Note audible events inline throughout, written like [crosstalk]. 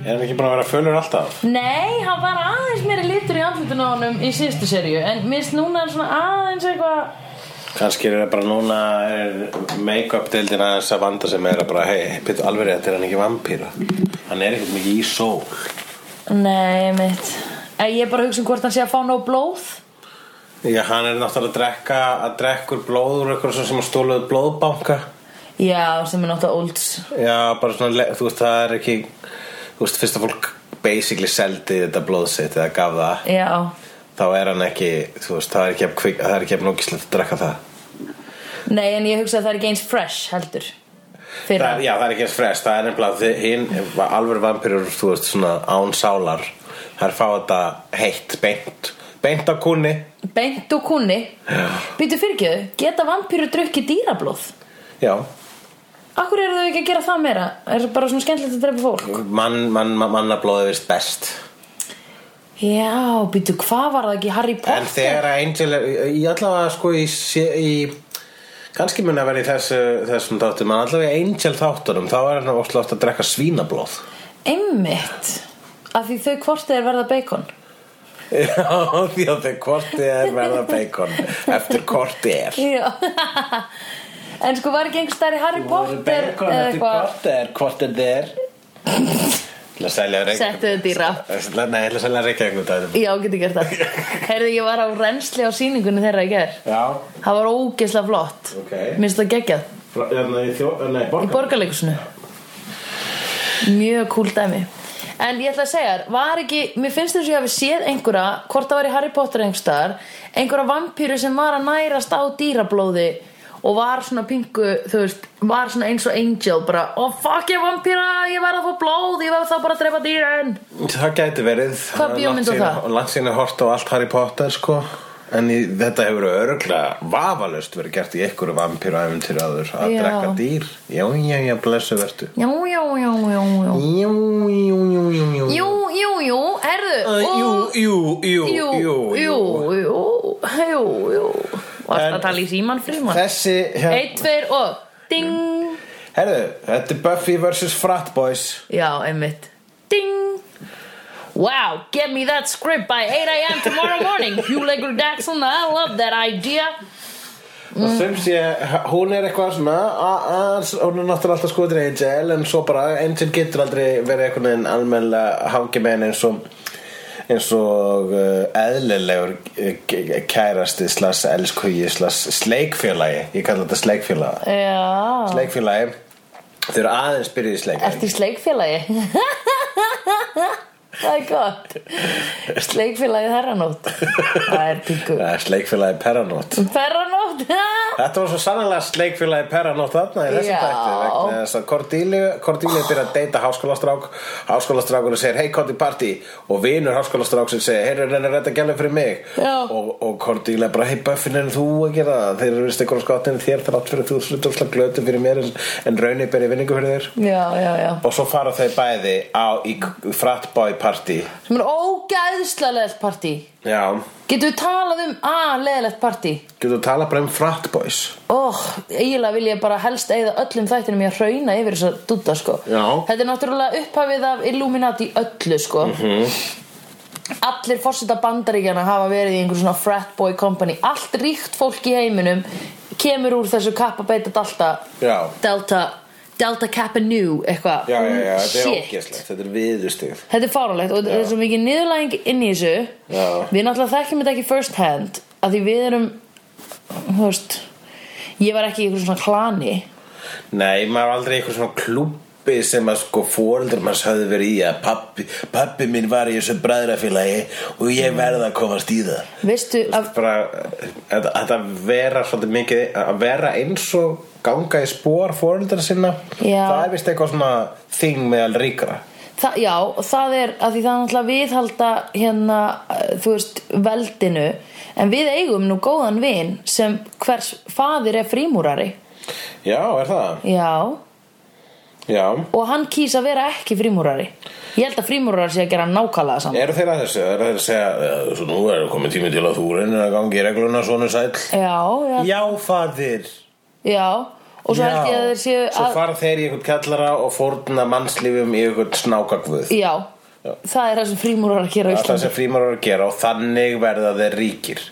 Er hann ekki búin að vera fölur alltaf? Nei, hann var aðeins meiri litur í andlutinu á honum í síðustu serju En mist núna er svona aðeins eitthvað Kanski er það bara núna er make-up deildin aðeins að vanda sem er að bara hei, pittu alveg þetta er hann ekki vampýra Hann er ekkert mikið í sól Nei, mitt En Ég er bara að hugsa um hvort hann sé að fá nóg blóð Já, hann er náttúrulega að drekka að drekkur blóð úr eitthvað sem að stóluðu blóðbanka Já, sem er náttúrulega olds Já, bara svona, le- þú veist, það er ekki Þú veist, fyrst að fólk basically seldi þetta blóðsitt eða gaf það Já, þá er hann ekki, þú veist, það er ekki jafn kvik, það er ekki jafn ógislegt að drekka það nei, en ég hugsa að það er ekki eins fresh heldur Fyrir Það, já, það er ekki eins frest, það er nefnilega þið- hinn, alveg vampirur, þú veist, svona án sálar, þær fá þetta heitt, beint, beint á kunni Beint og kunni Býtu fyrirgjöðu, geta vampýru drukki dýrablóð? Já, Akkur eru þau ekki að gera það meira? Er bara svona skemmtilegt að drepa fólk? mann, mann, mann, mannablóðið vist best Já, býtu, hvað var það ekki? Harry Potter? En þegar að Angel er, í allavega sko í, sé- í kannski mun að vera í þessu, þessum þáttum, en allavega í Angel þáttunum, þá er hann óslega oft að drekka svínablóð Einmitt Af því þau hvort þeir verða bacon [laughs] Já, því að þau korti er verða bacon, eftir korti er Já [laughs] En sko var ekki einhvers staðar í Harry Potter eða eh, eitthvað Korter, korter þér Til að selja reik Settu þetta í rapp Nei, til að selja reikjæknum dæðum Já, getur gert það Heyrðu, ég var á reynsli á sýningunni þeirra í ger Já, Það var ógeðslega flott Ok. Minnst það geggjað frá, hérna í þjó, nei, Í borgarleikusinu Mjög kúl dæmi En ég ætla að segja þér, var ekki, mér finnst þess að ég hafi séð einhverja, hvort það var í Harry Potter einhvers staðar, einhverja vampýru sem var að nærast á dýrablóði og var svona pingu, þú veist, var svona eins og Angel, bara, oh fuck ég vampýra, ég verð að fá blóð, ég verð þá bara að drepa dýrin. Það gæti verið Hvað bíómynd var það? Lansinu hort á allt Harry Potter sko En í, þetta hefur öruglega vafalust verið gert í einhverju vampíru æfintir aður að Já. drekka dýr Já, já, já, blessu vertu Já, já, já, já, já. Jú, jú, jú, jú, jú Jú, jú, jú, herðu, Uh, Jú, jú, jú, jú, jú, jú, jú, jú, jú. Varst En- að tala í síman fríman? Þessi, hér, Eitt, tveir og ding herðu, þetta er Buffy vs. Frat Boys Já, einmitt Ding Wow, get me that script by 8am tomorrow morning Hugh Legger Daxon, I love that idea Og sem sé, hún er eitthvað svona a- aðeins, hún er náttúrulega alltaf skoður Angel en svo bara, Angel getur aldrei verið einhvern veginn almennilega hangi með henni eins og eins og uh, eðlilegur uh, k- kærasti slags elskuji slags sleikfélagi ég kalla þetta sleikfélagi Já sleikfélagi, þau eru aðeins byrjuð í sleik Ertu í sleikfélagi? [laughs] Það er gott Sleikfélagi herranótt Það er píku Það er sleikfélagi Peranót Ferranótt Þetta var svo sannlega sleikfélagi Peranótt þarna í þessum Já. tætti vegna þess að Cordelia, Cordelia byrja að deyta háskólastrák háskólastrákurinn segir hei kondi partí og vinur háskólastráksinn segir hei reyna að redda gælu fyrir mig Já. og, og Cordelia bara hei Buffin en þú að gera það þeir eru vist einhverjum skottin þér þrátt fyrir þú sluttur slag glötu fyrir mér en, en raunni byrja vinningu fyrir þér [laughs] Já, já, já og svo fara þau bæði á í k- fratboy partí Sem er ógæðslega leðlegt partí Já, Getum við talað um að leðlegt partí? getur þú tala bara um fratboys Óh, eiginlega vil ég bara helst eigða öllum þættinum ég að hrauna yfir þess að dutta sko Já. Þetta er náttúrulega upphafið af Illuminati öllu sko -hmm. Mhm. Allir fórseta bandaríkjana hafa verið í einhver svona frat boy company Allt ríkt fólk í heiminum kemur úr þessu kappa beita delta Já. Delta, Delta Kappa Nu eitthvað Já, já, já, þetta er Shit. ógeslegt, þetta er viðustig Þetta er fáránlegt og þetta er svo mikið niðurlæging inn í þessu Já. Við náttúrulega þekkjum þetta ekki first hand að því við erum þú veist ég var ekki í einhverjum svona klani Nei, maður var aldrei í eitthvað svona klúbbi sem að sko fóreldur manns höfðu verið í að pappi, pappi minn var í þessu bræðrafélagi og ég verði að komast í það Veistu að bara að, að að vera svolítið mikið að vera eins og ganga í spór fóreldra sinna Já. það er vist eitthvað svona þing meðal ríkra það, já, það er að því það er náttúrulega viðhalda hérna, eh, þú veist, veldinu en við eigum nú góðan vin sem hvers faðir er frímúrari Já, er það? Já, Já og hann kýs að vera ekki frímúrari Ég held að frímúrari sé að gera nákvæmlega saman Eru þeir að þessu? Eru þeir að segja "Já, Svo nú er komið tími til að þú reynir að gangi í regluna svona sæll Já, já, Já, fadir Já, og svo held ég að þeir séu Svo að fara þeir í einhvern kallara og fórna mannslífum í einhvern snákagvöð já, Já. það er það sem frímúrar að gera á Það er það Íslandi sem frímarar að gera og þannig verða þeir ríkir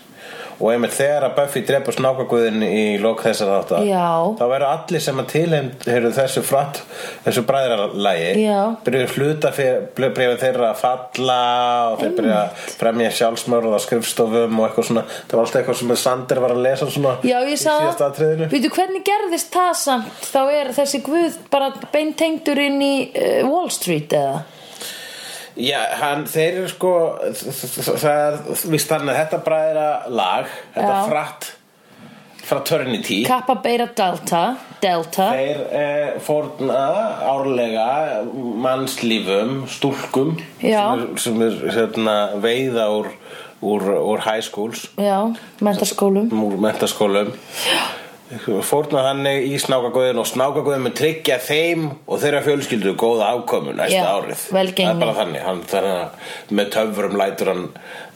Og einmitt þegar að Buffy drepur snákagvöðin í lok þessar þáttar Já. Þá verður allir sem að tilhengur þessu fratt, þessu bræðralægi Já. Byrjuðu hluta breyfa þeirra að falla og þeir byrja að fremja sjálfsmörð á skrifstofum og eitthvað svona Það var alltaf eitthvað sem Sander var að lesa svona Já, í ég síðasta sá, atriðinu veitu hvernig gerðist það samt, þá er þessi guð bara beintengdur inn í uh, Wall Street eða? Já, hann, þeir eru sko þ- þ- þ- það er víst þannig að þetta bræðra lag þetta Já. fratt fraternity Kappa Beta Delta, Delta, þeir eh, fórna árlega mannslífum, stúlkum Já. sem er, sem er hérna, veiða úr, úr, úr high schools já, mentaskólum, úr mentaskólum fórna þannig í snákagóðin og snákagóðin mun tryggja þeim og þeirra fjölskyldu góða afkomu næsta Já, árið velgengni. það er bara þannig hann, þannig að með töfrum lætur hann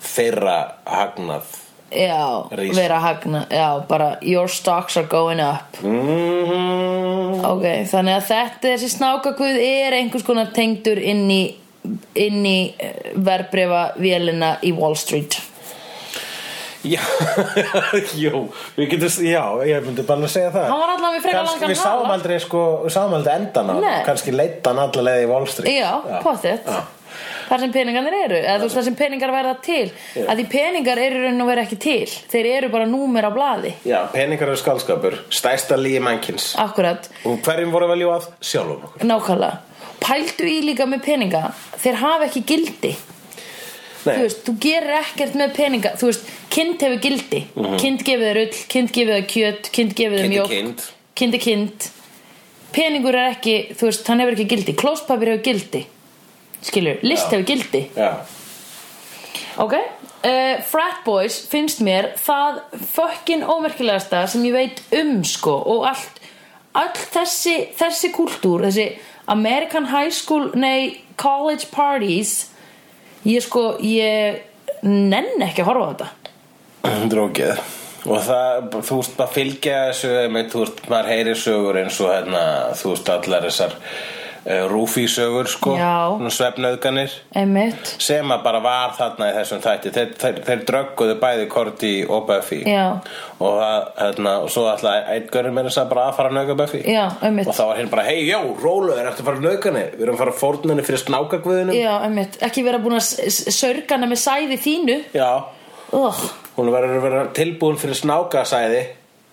þeirra hagnað já, Rís. vera að hagna, já, bara your stocks are going up. mm -hmm. Ok, þannig að þetta, þessi snákaguð er einhvers konar tengdur inn í, inn í verbreyfa vélina í Wall Street. já, [laughs] jú við getum, já, ég myndi bara að segja það Hann var allavega við frekar Kannski- langan við sáum hala. aldrei sko, við sáum aldrei endan á Nei. hann kannski leita hann alla leið í Wall Street Já, pottet Já. Þar sem peningarnir eru eða þú veist þar sem peningar verða til Já. að því peningar eru í raun og vera ekki til þeir eru bara númer á blaði já, peningar eru skálskapur stærsta líi mannkins Akkurat, og hverjum voru að velja að sjálfum okkur nákvæmlega Pældu í líka með peninga þeir hafa ekki gildi Nei. þú veist, þú gerir ekkert með peninga þú veist, kind hefur gildi kind gefið þér ull, kind gefið þér kjöt kind gefið þér Mhm. Kind er mjólk kind. kind er kind peningur er ekki, þú veist, hann hefur ekki gildi klóspapir hefur gildi skilur, list Já. hefur gildi Já, [clears throat] Ok uh, Frat Boys finnst mér það fucking ómerkilegasta sem ég veit um sko og allt all þessi, þessi kultúr þessi American High School nei, College Parties ég sko, ég nenn ekki að horfa á þetta drókið Og það, þú veist, maður fylgja þessu einmitt, Þú veist, maður heyrir sögur eins og hérna, Þú veist, allar þessar uh, Rúfi sögur, sko Já. Svefnauðganir einmitt Sem að bara var þarna í þessum þætti Þeir, þeir, þeir drögguðu bæði Korti og Buffy Já. Og það, hérna, og svo alltaf Einn görður meira þess að bara að fara að nauka Buffy Já, einmitt. Og þá var hinn bara, hei, já, rólu Er eftir að fara að nauka henni Við erum að fara að fórna henni fyrir snákagvöðunum Já, einmitt, ekki vera búin að s- s- saurga hana með sæði þínu Já, oh. hún verður að vera tilbúin fyrir snákasæði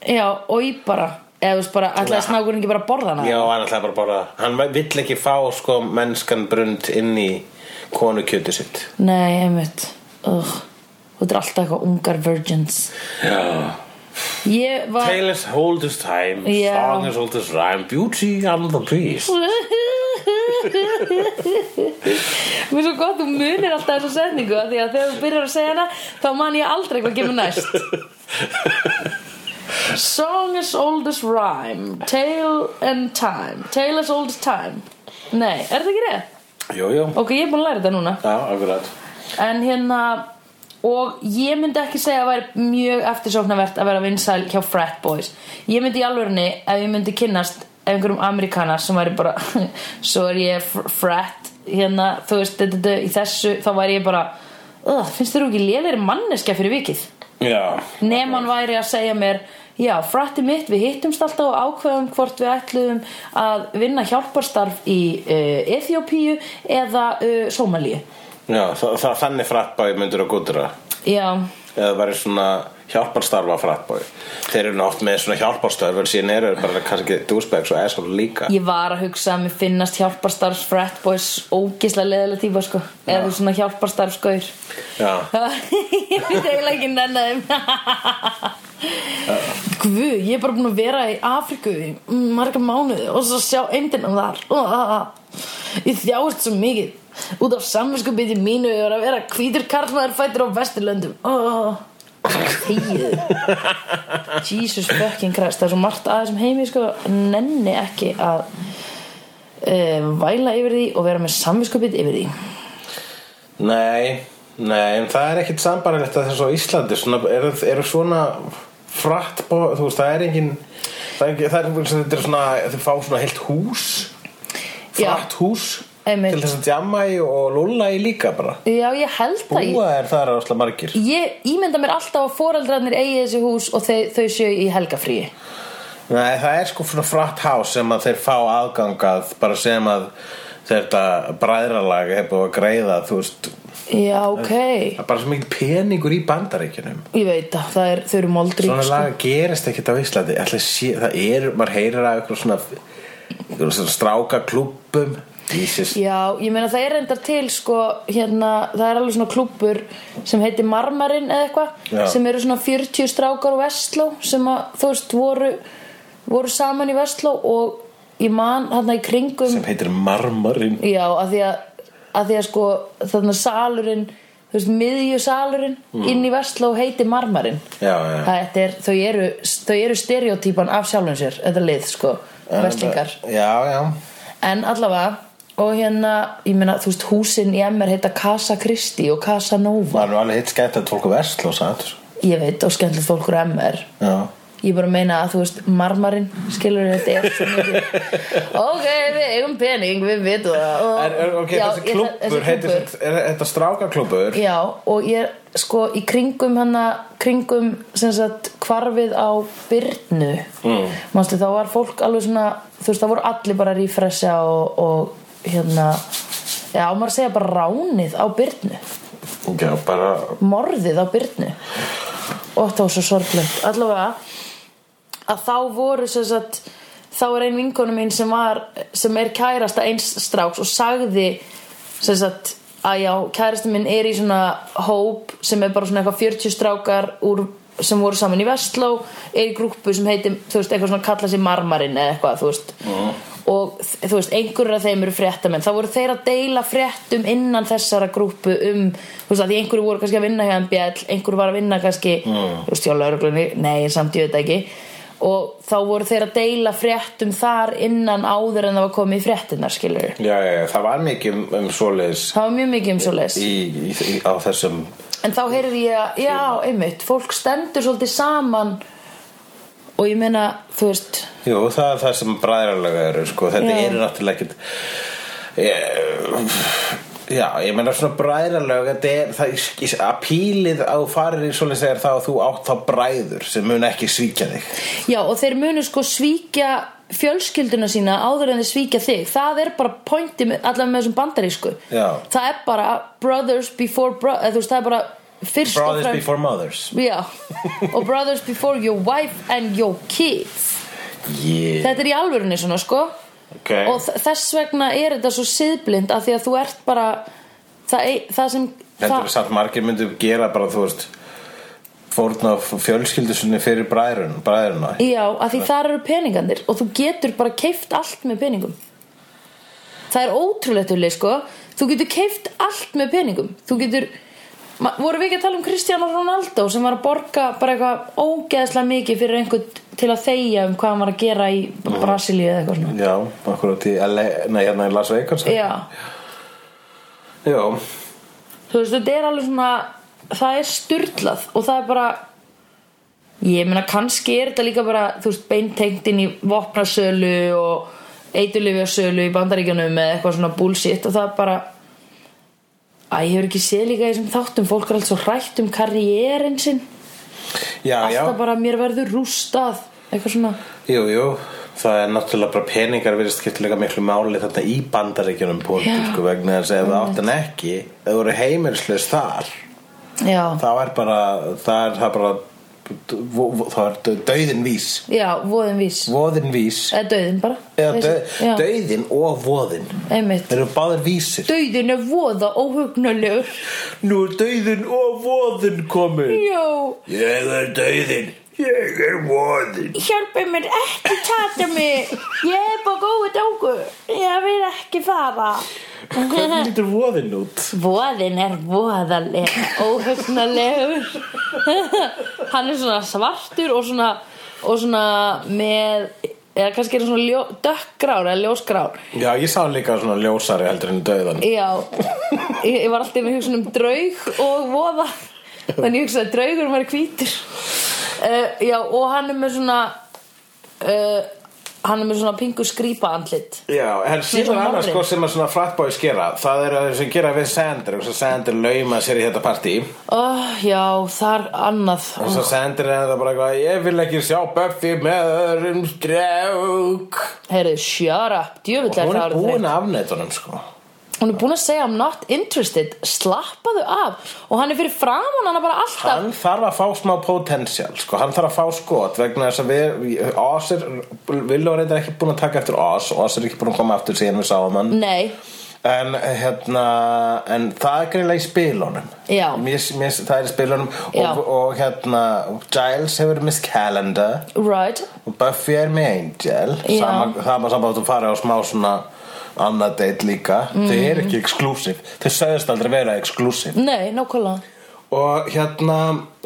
Já, og í bara eða þú veist bara, ætlaði snákurinn ekki bara að borða hana Já, hann ætlaði bara að borða það. Hann vill ekki fá sko mennskan brund inn í konukjötu sitt Nei, einmitt Ugh. Þú ert alltaf eitthvað ungar virgins Já Ég var Tale is old as time, Já. song is old as rhyme Beauty and the beast Mér er svo gott, þú munir alltaf þessu setningu af Því að þegar þú byrjar að segja hana Þá man ég aldrei hvað kemur næst Song as old as rhyme Tale and time Tale as old as time Nei, er það ekki rétt? Jú, jú Ok, ég er búin að læra þetta núna Já, akkurat En hérna Og ég myndi ekki segja að væri mjög eftirsóknarvert að vera vinsæl hjá frat boys Ég myndi í alvörni ef ég myndi kynnast ef einhverjum amerikanar sem væri bara [laughs] Svo er ég fr- frat hérna, þú veist, d- d- d- í þessu þá væri ég bara "Ugh, Finnst þér þú ekki lélegri manneskja fyrir vikið? Já Nefn hann væri að segja mér Já, frætti mitt, við hittumst alltaf og ákveðum hvort við ætluðum að vinna hjálparstarf í uh, Eþjópíu eða uh, Sómalíu. Já, það, það, þannig frattbæði myndur að gudra Já, eða væri svona hjálparstarfa frattbæði Þeir eru nátt með svona hjálparstarf en síðan eru þeir bara kannski dúsbegs og eða líka Ég var að hugsa að mér finnast hjálparstarf frat boys ógislega leðilega típa sko eða þú svona hjálparstarf skaur Já, Ég veit eiginlega ekki nenni þeim Guð, ég er bara búin að vera í Afriku í marga mánuði og svo sjá endinum þar Ég þjáist svo mikið út af samvinskupið í mínu er að vera hvítur karlmaður fættur á vesturlöndum Þegið Jesus fucking Christ, það er svo margt aðeins um heimi sko, nenni ekki að uh, væla yfir því og vera með samvinskupið yfir því Nei, nei, en það er ekkit sambarlegt að þessu á Íslandi svona, eru, eru svona fratt bó, þú veist, það er engin Það er ekki, það er, þetta er svona, þau fá svona heilt hús Já. Flatt hús Einmitt. Til þess að djamma í og lúlla í líka bara Já, ég held að ég, Búa er þar ásla margir ég ímynda mér alltaf að foreldrarnir eigi þessi hús og þau, þau séu í helgafríi Nei, það er sko svona fratt hás sem að þeir fá aðgangað bara sem að þetta bræðralag hefur búið að greiða þú veist, Já, ok það er bara svo mikið peningur í bandaríkjunum Ég veit að það er, þau eru moldrík Svona sko. laga gerist ekkert á Íslandi Ætli sé, það er, maður heyrir af ykkur svona, ykkur svona stráka klubbum Jesus. Já, ég meina það er reyndar til sko, hérna, það er alveg svona klúpur sem heitir Marmarinn eða Já. eitthvað sem eru svona 40 strákar á Vestló sem að, þú veist, voru voru saman í Vestló og ég man hérna í kringum sem heitir Marmarin Já, að því að, að því að sko þarna salurinn, þú veist, miðjusalurinn Mm. inn í Vestló heitir Marmarinn Já, já, já Þetta er, þau eru, þau eru stereotypan af sjálfum sér, þetta lið sko, vestlingar Já, já En allavega Og hérna, ég meina, þú veist, húsin í MR heita Casa Christi og Casa Nova Það er nú alveg hitt skemmt að fólku versl og satt Ég veit, og skemmtilegt fólkur á MR Já Ég bara meina að, þú veist, marmarinn skilur þetta er svo mikið [laughs] Ok, við eigum pening, við vitum það og, Er, er, ok, þessi ég- klubbur heitir klúbbur. er þetta strákaklubbur Já, og ég er sko í kringum hana, kringum sem sagt hvarfið á Byrnu mm. Manstu, þá var fólk alveg svona, þú veist, þá voru allir bara að rífressa og, og hérna, já, á maður að segja bara ránið á Byrnu Já, bara morðið á Byrnu og það var svo sorglegt allavega að þá voru sem sagt þá er ein vinkonu mín sem var sem er kærasta eins stráks og sagði sem sagt að já, kærasta minn er í svona hóp sem er bara svona eitthvað 40 strákar úr, sem voru saman í Vestló er í grúppu sem heitir þú veist, eitthvað svona kalla sig marmarinn eða eitthvað þú veist og þ- þú veist, einhverjur af þeim eru fréttamenn þá voru þeir að deila fréttum innan þessara grúpu um, þú veist, að því einhverju voru kannski að vinna hjá MBL, einhverju var að vinna kannski, þú veist, hjá lauruglunni nei, samt ég veit það ekki og þá voru þeir að deila fréttum þar innan áður en það var komið í fréttinnar skilur, Já, já, já, það var mikið um, um svoleiðis það var mjög mikið um svo leis í, í, í, á þessum en þá heyrði ég að, já, einmitt fólk stendur svolítið saman og ég meina, þú veist Jú, það er það sem bræðralega eru sko. þetta Já. eru náttúrulega ekkit ég, Já, ég meina svona bræðralega þetta er, það er að pílið á farir í svoleiðis er það að þú átt þá bræður sem mun ekki svíkja þig Já og þeir munu sko svíkja fjölskylduna sína áður en þeir svíkja þig það er bara pointi með- allavega með þessum bandarísku Já. það er bara brothers before bro eða þú veist það er bara fyrst og Brothers fremst before mothers Já, og brothers before your wife and your kids yeah. Þetta er í alvörunni svona sko okay. og þ- þess vegna er þetta svo siðblind af því að þú ert bara það, ei- það sem Þetta það- er samt margir myndu gera bara, þú veist fórna fjölskyldu sinni fyrir bræðrun, bræðruna Já, af því þar eru peningarnir og þú getur bara keift allt með peningum Það er ótrúlegt Ulli, sko Þú getur keift allt með peningum Þú getur Ma, voru við ekki að tala um Cristiano Ronaldo sem var að borga bara eitthvað ógeðslega mikið fyrir einhvern til að þegja um hvað hann var að gera í Brasilíu eða eitthvað svona Já, okkur á tí Nei, hérna í Las Vegas Já, Já, þú veist þetta er alveg svona það er sturlað og það er bara ég meina kannski er þetta líka bara þú veist beintengt inn í vopnasölu og eitulifjasölu í bandaríkjanum eða eitthvað svona bullshit og það er bara að ég hefur ekki séð líka í þessum þáttum fólk er alls svo hrætt um karriérin sinn já, já alltaf bara mér verður rústað eitthvað svona Jú, jú, það er náttúrulega bara peningar verið skiptilega miklu máli þarna í bandaríkjunum pólitísku Já. sko, vegna þess að ef það átt en ekki ef þú eru heimilslaus þar já, þá er bara, það er, það er bara vo- vo- þá er döðin vís já, voðin vís voðin vís eða döðin bara eða Veist- já, döð, döðin og voðin einmitt þeir eru báðir vísir döðin er voða óhugnulegur Nú er döðin og voðin komin já Ég er döðin, ég er voðin Hjálpið mér ekki tata mig Ég er bara góðu dóku Ég vil ekki fara Hvernig lítur voðin út? Voðin er voðaleg Óhugnalegur Hann er svona svartur Og svona, og svona með Eða kannski er hann svona ljó, dökkgrár Eða ljósgrár Já, ég sá hann líka svona ljósari heldur en döðan Já, ég, ég var alltaf með hugsun um draug og voða Eh, Þannig ég hugsaði að draugur var hvítur uh, Já, og hann er með svona uh, hann er með svona pingu skrýpa andlit Já, en síðan svona annars morðin. sko sem að svona flatboys gera Það eru þeir sem gera við Sander og svo Sander lauma sér í þetta partí og oh, já, þar annað svo Sander er það bara eitthvað Ég vil ekki sjá Buffy með öðrum strák heyrðu, shut up, djöfull er það Hún er orðið þreytt. búin að afneita honum sko hún er búin að segja I'm not interested, slappaðu af og hann er fyrir framan hana bara alltaf Hann þarf að fá smá potential sko. Hann þarf að fá skot vegna þess að við, við Oz er, Villó er eitthvað ekki búin að taka eftir Oz Oz er ekki búin að koma aftur síðan við sáum hann nei, En hérna En það er greinilega í spilunum Já. mér, mér, Það er í spilunum Já. og, og hérna Giles hefur Miss Calendar right Og Buffy er með Angel Já. Sama- Það er maður samband að fara á smá svona Annað date líka Þau Mhm. eru ekki exclusive Þau sögðust aldrei vera exclusive nei, nákvæmlega Og hérna,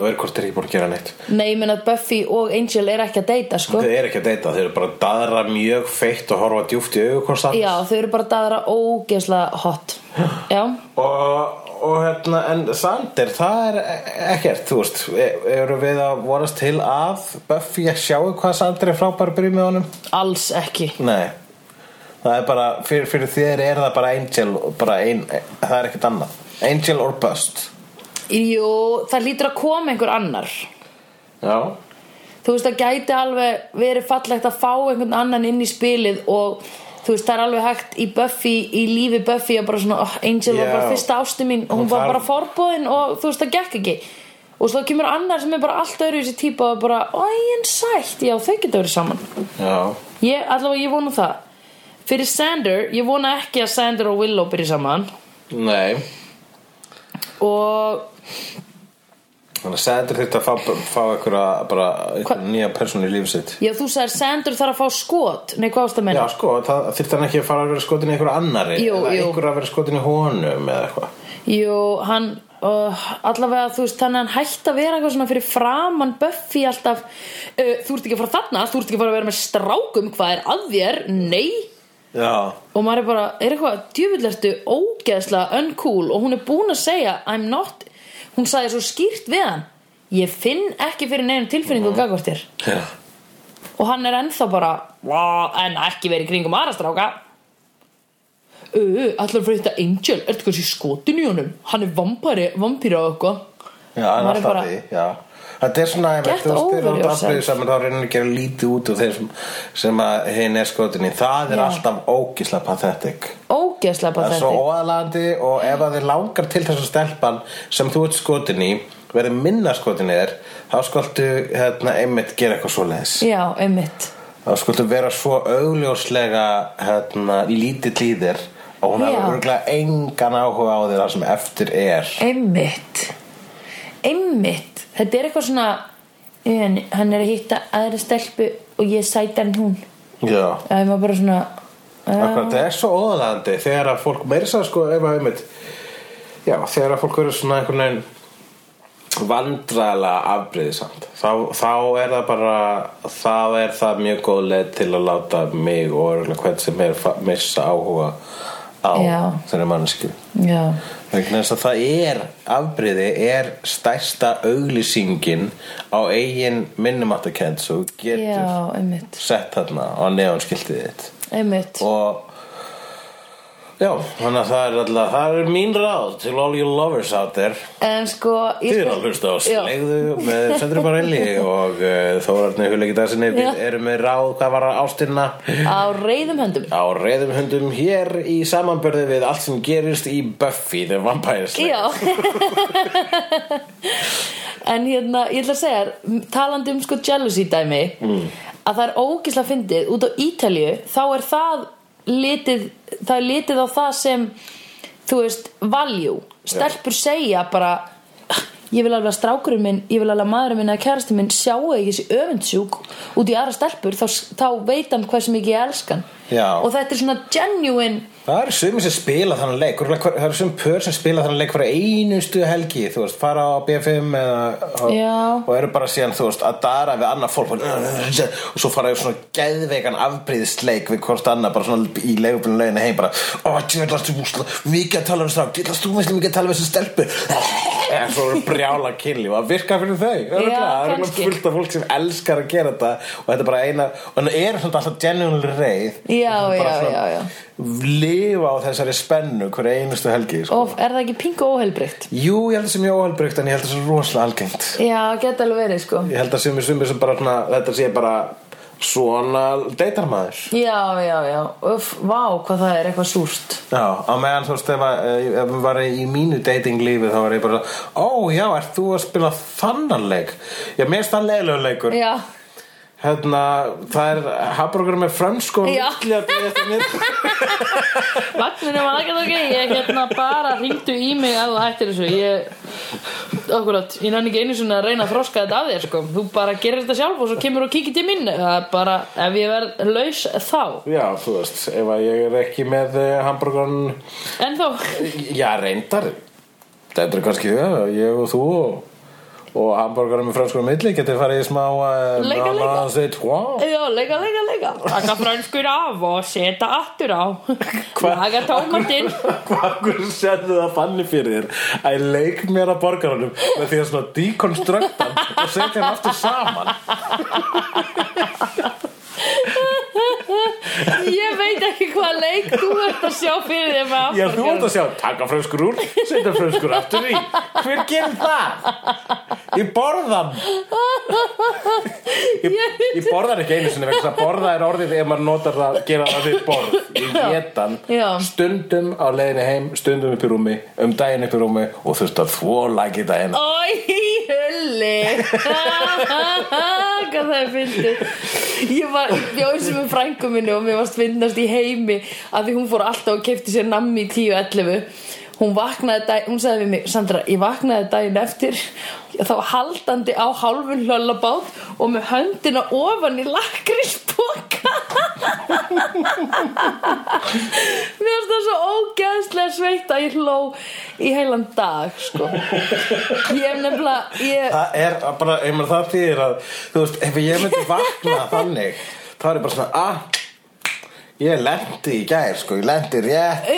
og er hvort er ekki búin að gera neitt nei, ég meina að Buffy og Angel er ekki að deyta sko. Þau eru ekki að deyta, þau eru bara að daðra mjög feitt og horfa djúft í augukonstant já, þau eru bara daðra ógeðslega [gasps] hot já, og, og hérna, en Sander, það er e- ekkert, þú veist e- Eru við að vorast til að Buffy að sjáu hvað Sander er frábær byrjum með honum? alls ekki Nei Það er bara, fyrir, fyrir þér er það bara Angel og bara ein, e- það er ekkert annað Angel or Bust jú, það lítur að koma einhver annar Já þú veist, það gæti alveg verið fallegt að fá einhvern annan inn í spilið og þú veist, það er alveg hægt í Buffy, í lífi Buffy að bara svona, oh, Angel Já. var bara fyrsta ástu mín og hún Hún var þarf- bara forbúðin og þú veist, það gekk ekki og svo kemur annar sem er bara allt öðru í þessi típa og bara, oi, en sætt já, þau geta verið saman Já ég, allavega, ég vona það fyrir Sander, ég vona ekki að Sander og Willow byrja saman Nei og Þannig að Sander þurfti að fá, fá einhverja bara einhverja nýja persónu í lífi sitt já, þú sagðir Sander þarf að fá skot nei, hvað ást að Já menna? sko, það þurfti hann ekki að fara að vera skotin í einhverju annari Jú, eða jú. einhverju að vera skotin í honum eða eitthvað Jú, hann uh, allavega þú veist þannig að hann hætti að vera eitthvað svona fyrir framann Buffy alltaf uh, þú ert ekki að fara þarna, þú ert ekki að fara að vera með strákum hvað er að þér, nei Já, og maður er bara, er eitthvað djöfullertu ógeðslega uncool og hún er búin að segja I'm not, hún sagði svo skýrt við hann ég finn ekki fyrir neina tilfinningu mm. gagvartir já. og hann er ennþá bara "Vá, en ekki verið í kringum aðra stráka öö, allar fyrir þetta Angel ertu kannski skotin í honum hann er vampari, vampíra og eitthvað já en Maður er alltaf bara- því já. Þetta er svona, einmitt, Get þú veist, þeir over eru yourself. allir saman þá reynir að gera lítið út úr þeir sem, sem að hinn er skotin í Það er Já. alltaf ógisla pathetic ógeðslega Það bara er svo þetta óaðlandi og ef að þið langar til þessu stelpan sem þú ert skotin í verið minna skotin í þér þá skoltu hérna, einmitt gera eitthvað svoleiðis já, einmitt þá skuldu vera svo augljóslega hérna, lítill í þér og hún Já. hefur örgulega engan áhuga á þér það sem eftir er einmitt einmitt, þetta er eitthvað svona en hann er að hitta aðra stelpu og ég er sætar en hún já það er maður bara svona Eh. Akkurat, það er svo óðalandi þegar að fólk meira sér sko ef að einmitt já, þegar að fólk verður svona einhvern veginn vandræðlega afbreyðisamt þá, þá er það bara þá er það mjög góð leið til að láta mig og örgulega hvern sem er fa- missa áhuga á Já. þeirra mannskju já, vegna þess að það er afbriði er stærsta auglýsingin á eigin minnumáttakend svo þú getur já, einmitt sett þarna á neonskiltið þitt einmitt, og já, þannig að það er alltaf það er mín ráð til all you lovers out there en sko ég Þið skal- eru að hlusta á Já. slegðu með Söndri Barelli og uh, Þórarni Hulegi Darsinni Já. við erum með ráð hvað var að ástinna á reyðum höndum á reyðum hundum hér í samanbörði við allt sem gerist í Buffy The Vampire Slayer Já En hérna, ég ætla að segja þér, talandi um sko jealousy dæmi Mm. að það er ógislega fyndið út á Ítalju, þá er það litið, það er litið á það sem þú veist, value stelpur segja bara ég vil alveg að strákurinn minn ég vil alveg að maðurinn minn eða kærastinn minn sjáu ekki þessi öfundsjúk út í aðra stelpur þá, þá veit hann hversu mikið ég elskan Já. og þetta er svona genuine Það eru sumir sem spila þannig leik örugglega hver- Það eru sumir pör sem spila þannig leik hverja einustu helgi Þú veist, fara á BFM eða, Já. og, og eru bara síðan, þú veist, að dara við annað fólk og, og svo fara við svona geðveikan afbreyðisleik við hvort annað bara svona í leigubilin leiðinu heim bara, ó, djöðlast þú mikið að tala um strák djöðlast þú mikið að tala um þessu stelpu [laughs] eða svo eru brjála kynlíf að virka fyrir þau það Já, er örugglega kannski. fullt af fólk sem elskar að gera þetta og þetta er bara eina og það er svona alltaf genuinely reið Já, Bara já, svona já, já. lifa á þessari spennu hverja einustu helgi sko. Og er það ekki pingu óheilbrygt? jú, ég held það sem ég óhalbrugt en ég held það sem rosalega algengt Já, geta alveg verið sko ég held það sem ég sumir sem bara svona, þetta sé bara svona deitarmaður Já, já, já, öf, vá, hvað það er eitthvað súrt Já, á meðan þú veist ef, að- eh, ef við var í mínu dating lífi þá var ég bara, ó já, ert þú að spila þannan leik? Já, mér er það leiðlega leikur Já, Hérna, það er hafbrókur með frönskon Já. [laughs] Ég vagninum var ekki þóki um Ég hérna bara ringdu í mig ef þú hættir þessu Ég, okkurat, ég nenni ekki einu svona að reyna að þroska þetta af þér sko Þú bara gerir þetta sjálf og svo kemur og kikið til mín Það er bara, ef ég verð laus þá Já, þú veist, ef að ég er ekki með eh, hambúrgarn En þó, Já, reyndar Þetta er kannski það, ég og þú og, og hambúrgarn með frönskon milli getur farið í smá eh, Leika, leika. leika já, leika, leika, leika Taka franskur af og seta aftur á Laga tómatinn Hvað sérðu það fannig fyrir þér að ég leik mér að borgarunum með því að svona dekonstrukta og setja hann aftur saman Ég veit ekki hvað leik þú ert að sjá fyrir þér með Já, þú afturkjörnum. ert að sjá, taka fröskur úr setja fröskur aftur í Hver gerir það? Ég borða hann Ég, ég borða hann ekki einu sinni vegna þess að borða er orðið ef maður notar það gera það við borð Ég get hann Já. stundum á leiðinni heim stundum upp í rúmi, um daginn upp í rúmi og þurft að þvó lagi daginn Æ, hulli Hvað það er fyndið Ég var í bjóð sem er frængu minni og mér varst fyndast í heimi að því hún fór alltaf og kefti sér nammi í 10-11 Hún vaknaði dag, hún sagði við mig Sandra, ég vaknaði daginn eftir þá haldandi á hálfun hlöllabátt og með höndina ofan í lakrísboka Mér varst það svo ógeðslega sveitt að ég hló í heilan dag, sko Ég hef nefnilega, ég Það er bara, ég maður það þýðir að Þú veist, ef ég myndi vakna þannig þá er ég bara svona, ah Ég lendi í gær, sko, ég lendi rétt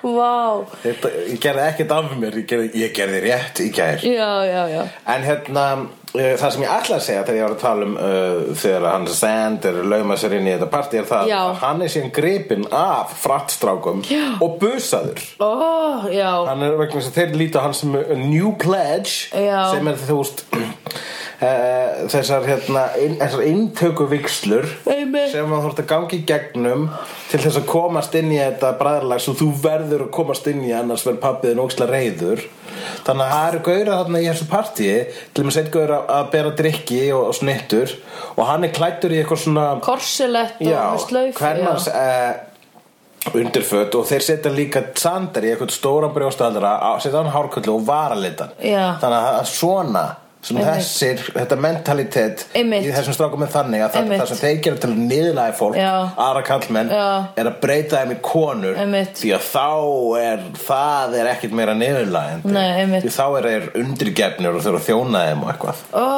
Vá, Þetta, Ég gerði ekkert af mér, ég gerði, ég gerði rétt í gær já, já, já En hérna, uh, það sem ég ætla að segja þegar ég var að tala um uh, þegar hann Sand er lauma sér inn í þetta partí er það Já. að hann er síðan gripinn af frattstrákum Já. og busaður Ó, Oh, já, hann er vegna þess að þeir líta hann sem a new pledge Já. sem er þú veist [clears throat] eh, þessar hérna inn, þessar inntöku vikslur Einmitt. sem að þú ert að gangi gegnum til þess að komast inn í þetta bræðarlag svo þú verður að komast inn í annars verður pappiðin óksla reyður þannig að það eru gauðra þarna í þessu partíi til þess að gauðra að bera drikki og, og snittur og hann er klættur í eitthvað svona korsilett og Já, með slauf hvernans já. uh, undirföt og þeir setja líka sandar í eitthvað stóran brjóstahaldara á- setja hann hárkullu og varalitan Já. þannig að svona sem Einmitt. þessir, þetta mentalitet Einmitt. í þessum strákum er þannig að það, Einmitt. það sem þeir gera til að niðurlæði fólk Já. aðra kallmenn Já. er að breyta þeim í konur Einmitt. því að þá er það er ekkert meira niðurlæðandi Nei, einmitt. því þá er þeir undirgefnir og þurfa að þjóna þeim og eitthvað Ó,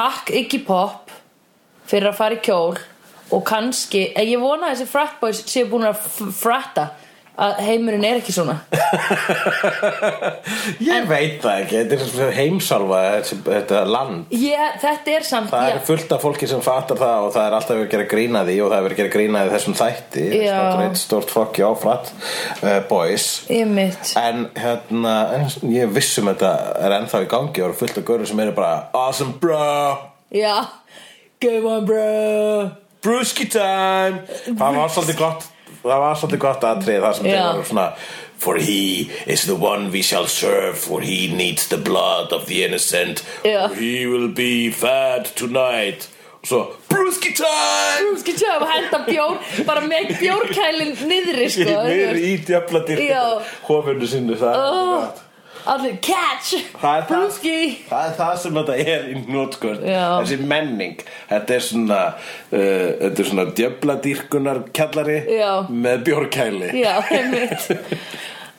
Takk Iggy Pop fyrir að fara í kjól og kannski, eh, ég vona að þessi frat boys séu búin að f- fratta að heimurinn er ekki svona Ég veit það ekki, þetta er svo heimsálfa þessi- þetta land ég, Þetta er samt Það já, er fullt af fólki sem fattar það og það er alltaf verið að gera grína því og það er verið að gera grína því þessum þætti Já. Það er eitt stort fokki áfratt uh, boys Ég mitt En hérna, en, ég vissum þetta er ennþá í gangi og eru fullt af görur sem eru bara Awesome bro, Já, game on bro brewski time Það var svolítið gott Það var svolítið gott aðtrið þar sem Já. þeir voru svona For he is the one we shall serve For he needs the blood of the innocent Já. For he will be fed tonight Og svo, brewski time Kannski tjóðum að henda bjór bara með bjórkælin niðri sko, Mér í djöfla Já. dyrkina Hófinu sinni það er Oh. gott. Allir catch Það er það- Brúski Það er það sem þetta er í nótskort Já. Þessi menning Þetta er svona uh, Þetta er svona djöfla dyrkunar kjallari Já. Með bjórkæli Já, einmitt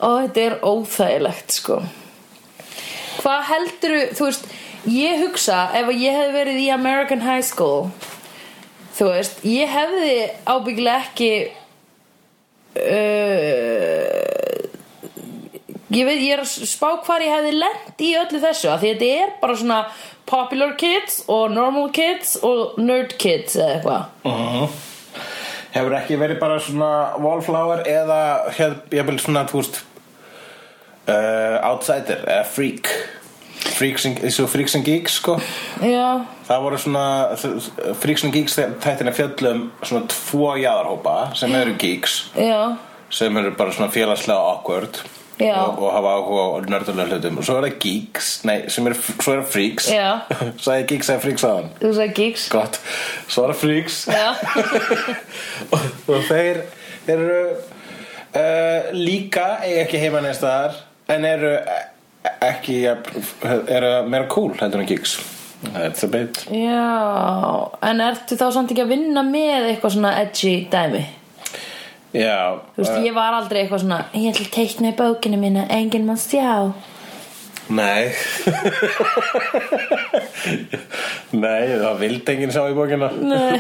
Og þetta er óþægilegt sko Hvað heldurðu, þú veist Ég hugsa, ef að ég hefði verið í American High School Þú veist, ég hefði ábyggilega ekki uh, ég veit, ég er að spá hvar ég hefði lent í öllu þessu af því þetta er bara svona popular kids og normal kids og nerd kids eða eitthvað Hefur ekki verið bara svona wallflower eða hef, ég vil svona, þú veist uh, outsider eða freak Freaks and, eins og freaks and geeks sko já, það voru svona freaks and geeks þættina fjöllum svona tvo jáðarhópa sem eru geeks já, sem eru bara svona félagslega awkward Já. og, og hafa áhuga á nördulega hlutum og svo er það geeks, nei, sem eru, svo er það freaks [laughs] Já. sagði geeks eða freaks aðan þú sagði geeks gott, svo er það freaks já, [laughs] og, og þeir, þeir eru uh, líka eiga ekki heima neins þar en eru e- ekki jafn- eru meira cool heldur en geeks that's a bit já en ertu þá samt ekki að vinna með eitthvað svona edgy dæmi já, þú veist, ég var aldrei eitthvað svona ég ætla að teikna í bókinu mína, enginn mann sjá Nei Nei, það vildi enginn sjá í bókina Nei.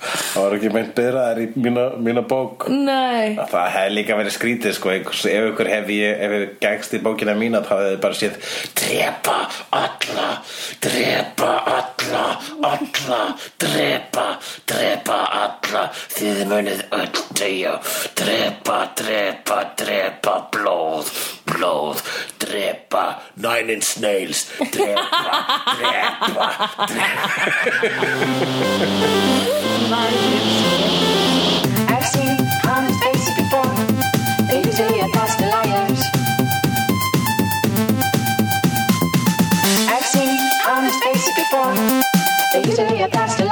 Það var ekki meint byrða þær í mína, mína bók nei, Það hefði líka verið skrítið sko einhvers- Ef ykkur hefði, ef ykkur gægst í bókina mína þá hefði þið bara séð Drepa alla, drepa alla, alla, drepa, drepa alla Þið munið öll degja Drepa, drepa, drepa, blóð, blóð, drepa Nine inch nails, drepa, drepa, I've seen honest faces before. They usually are past the liars. I've seen honest faces before. They usually are past the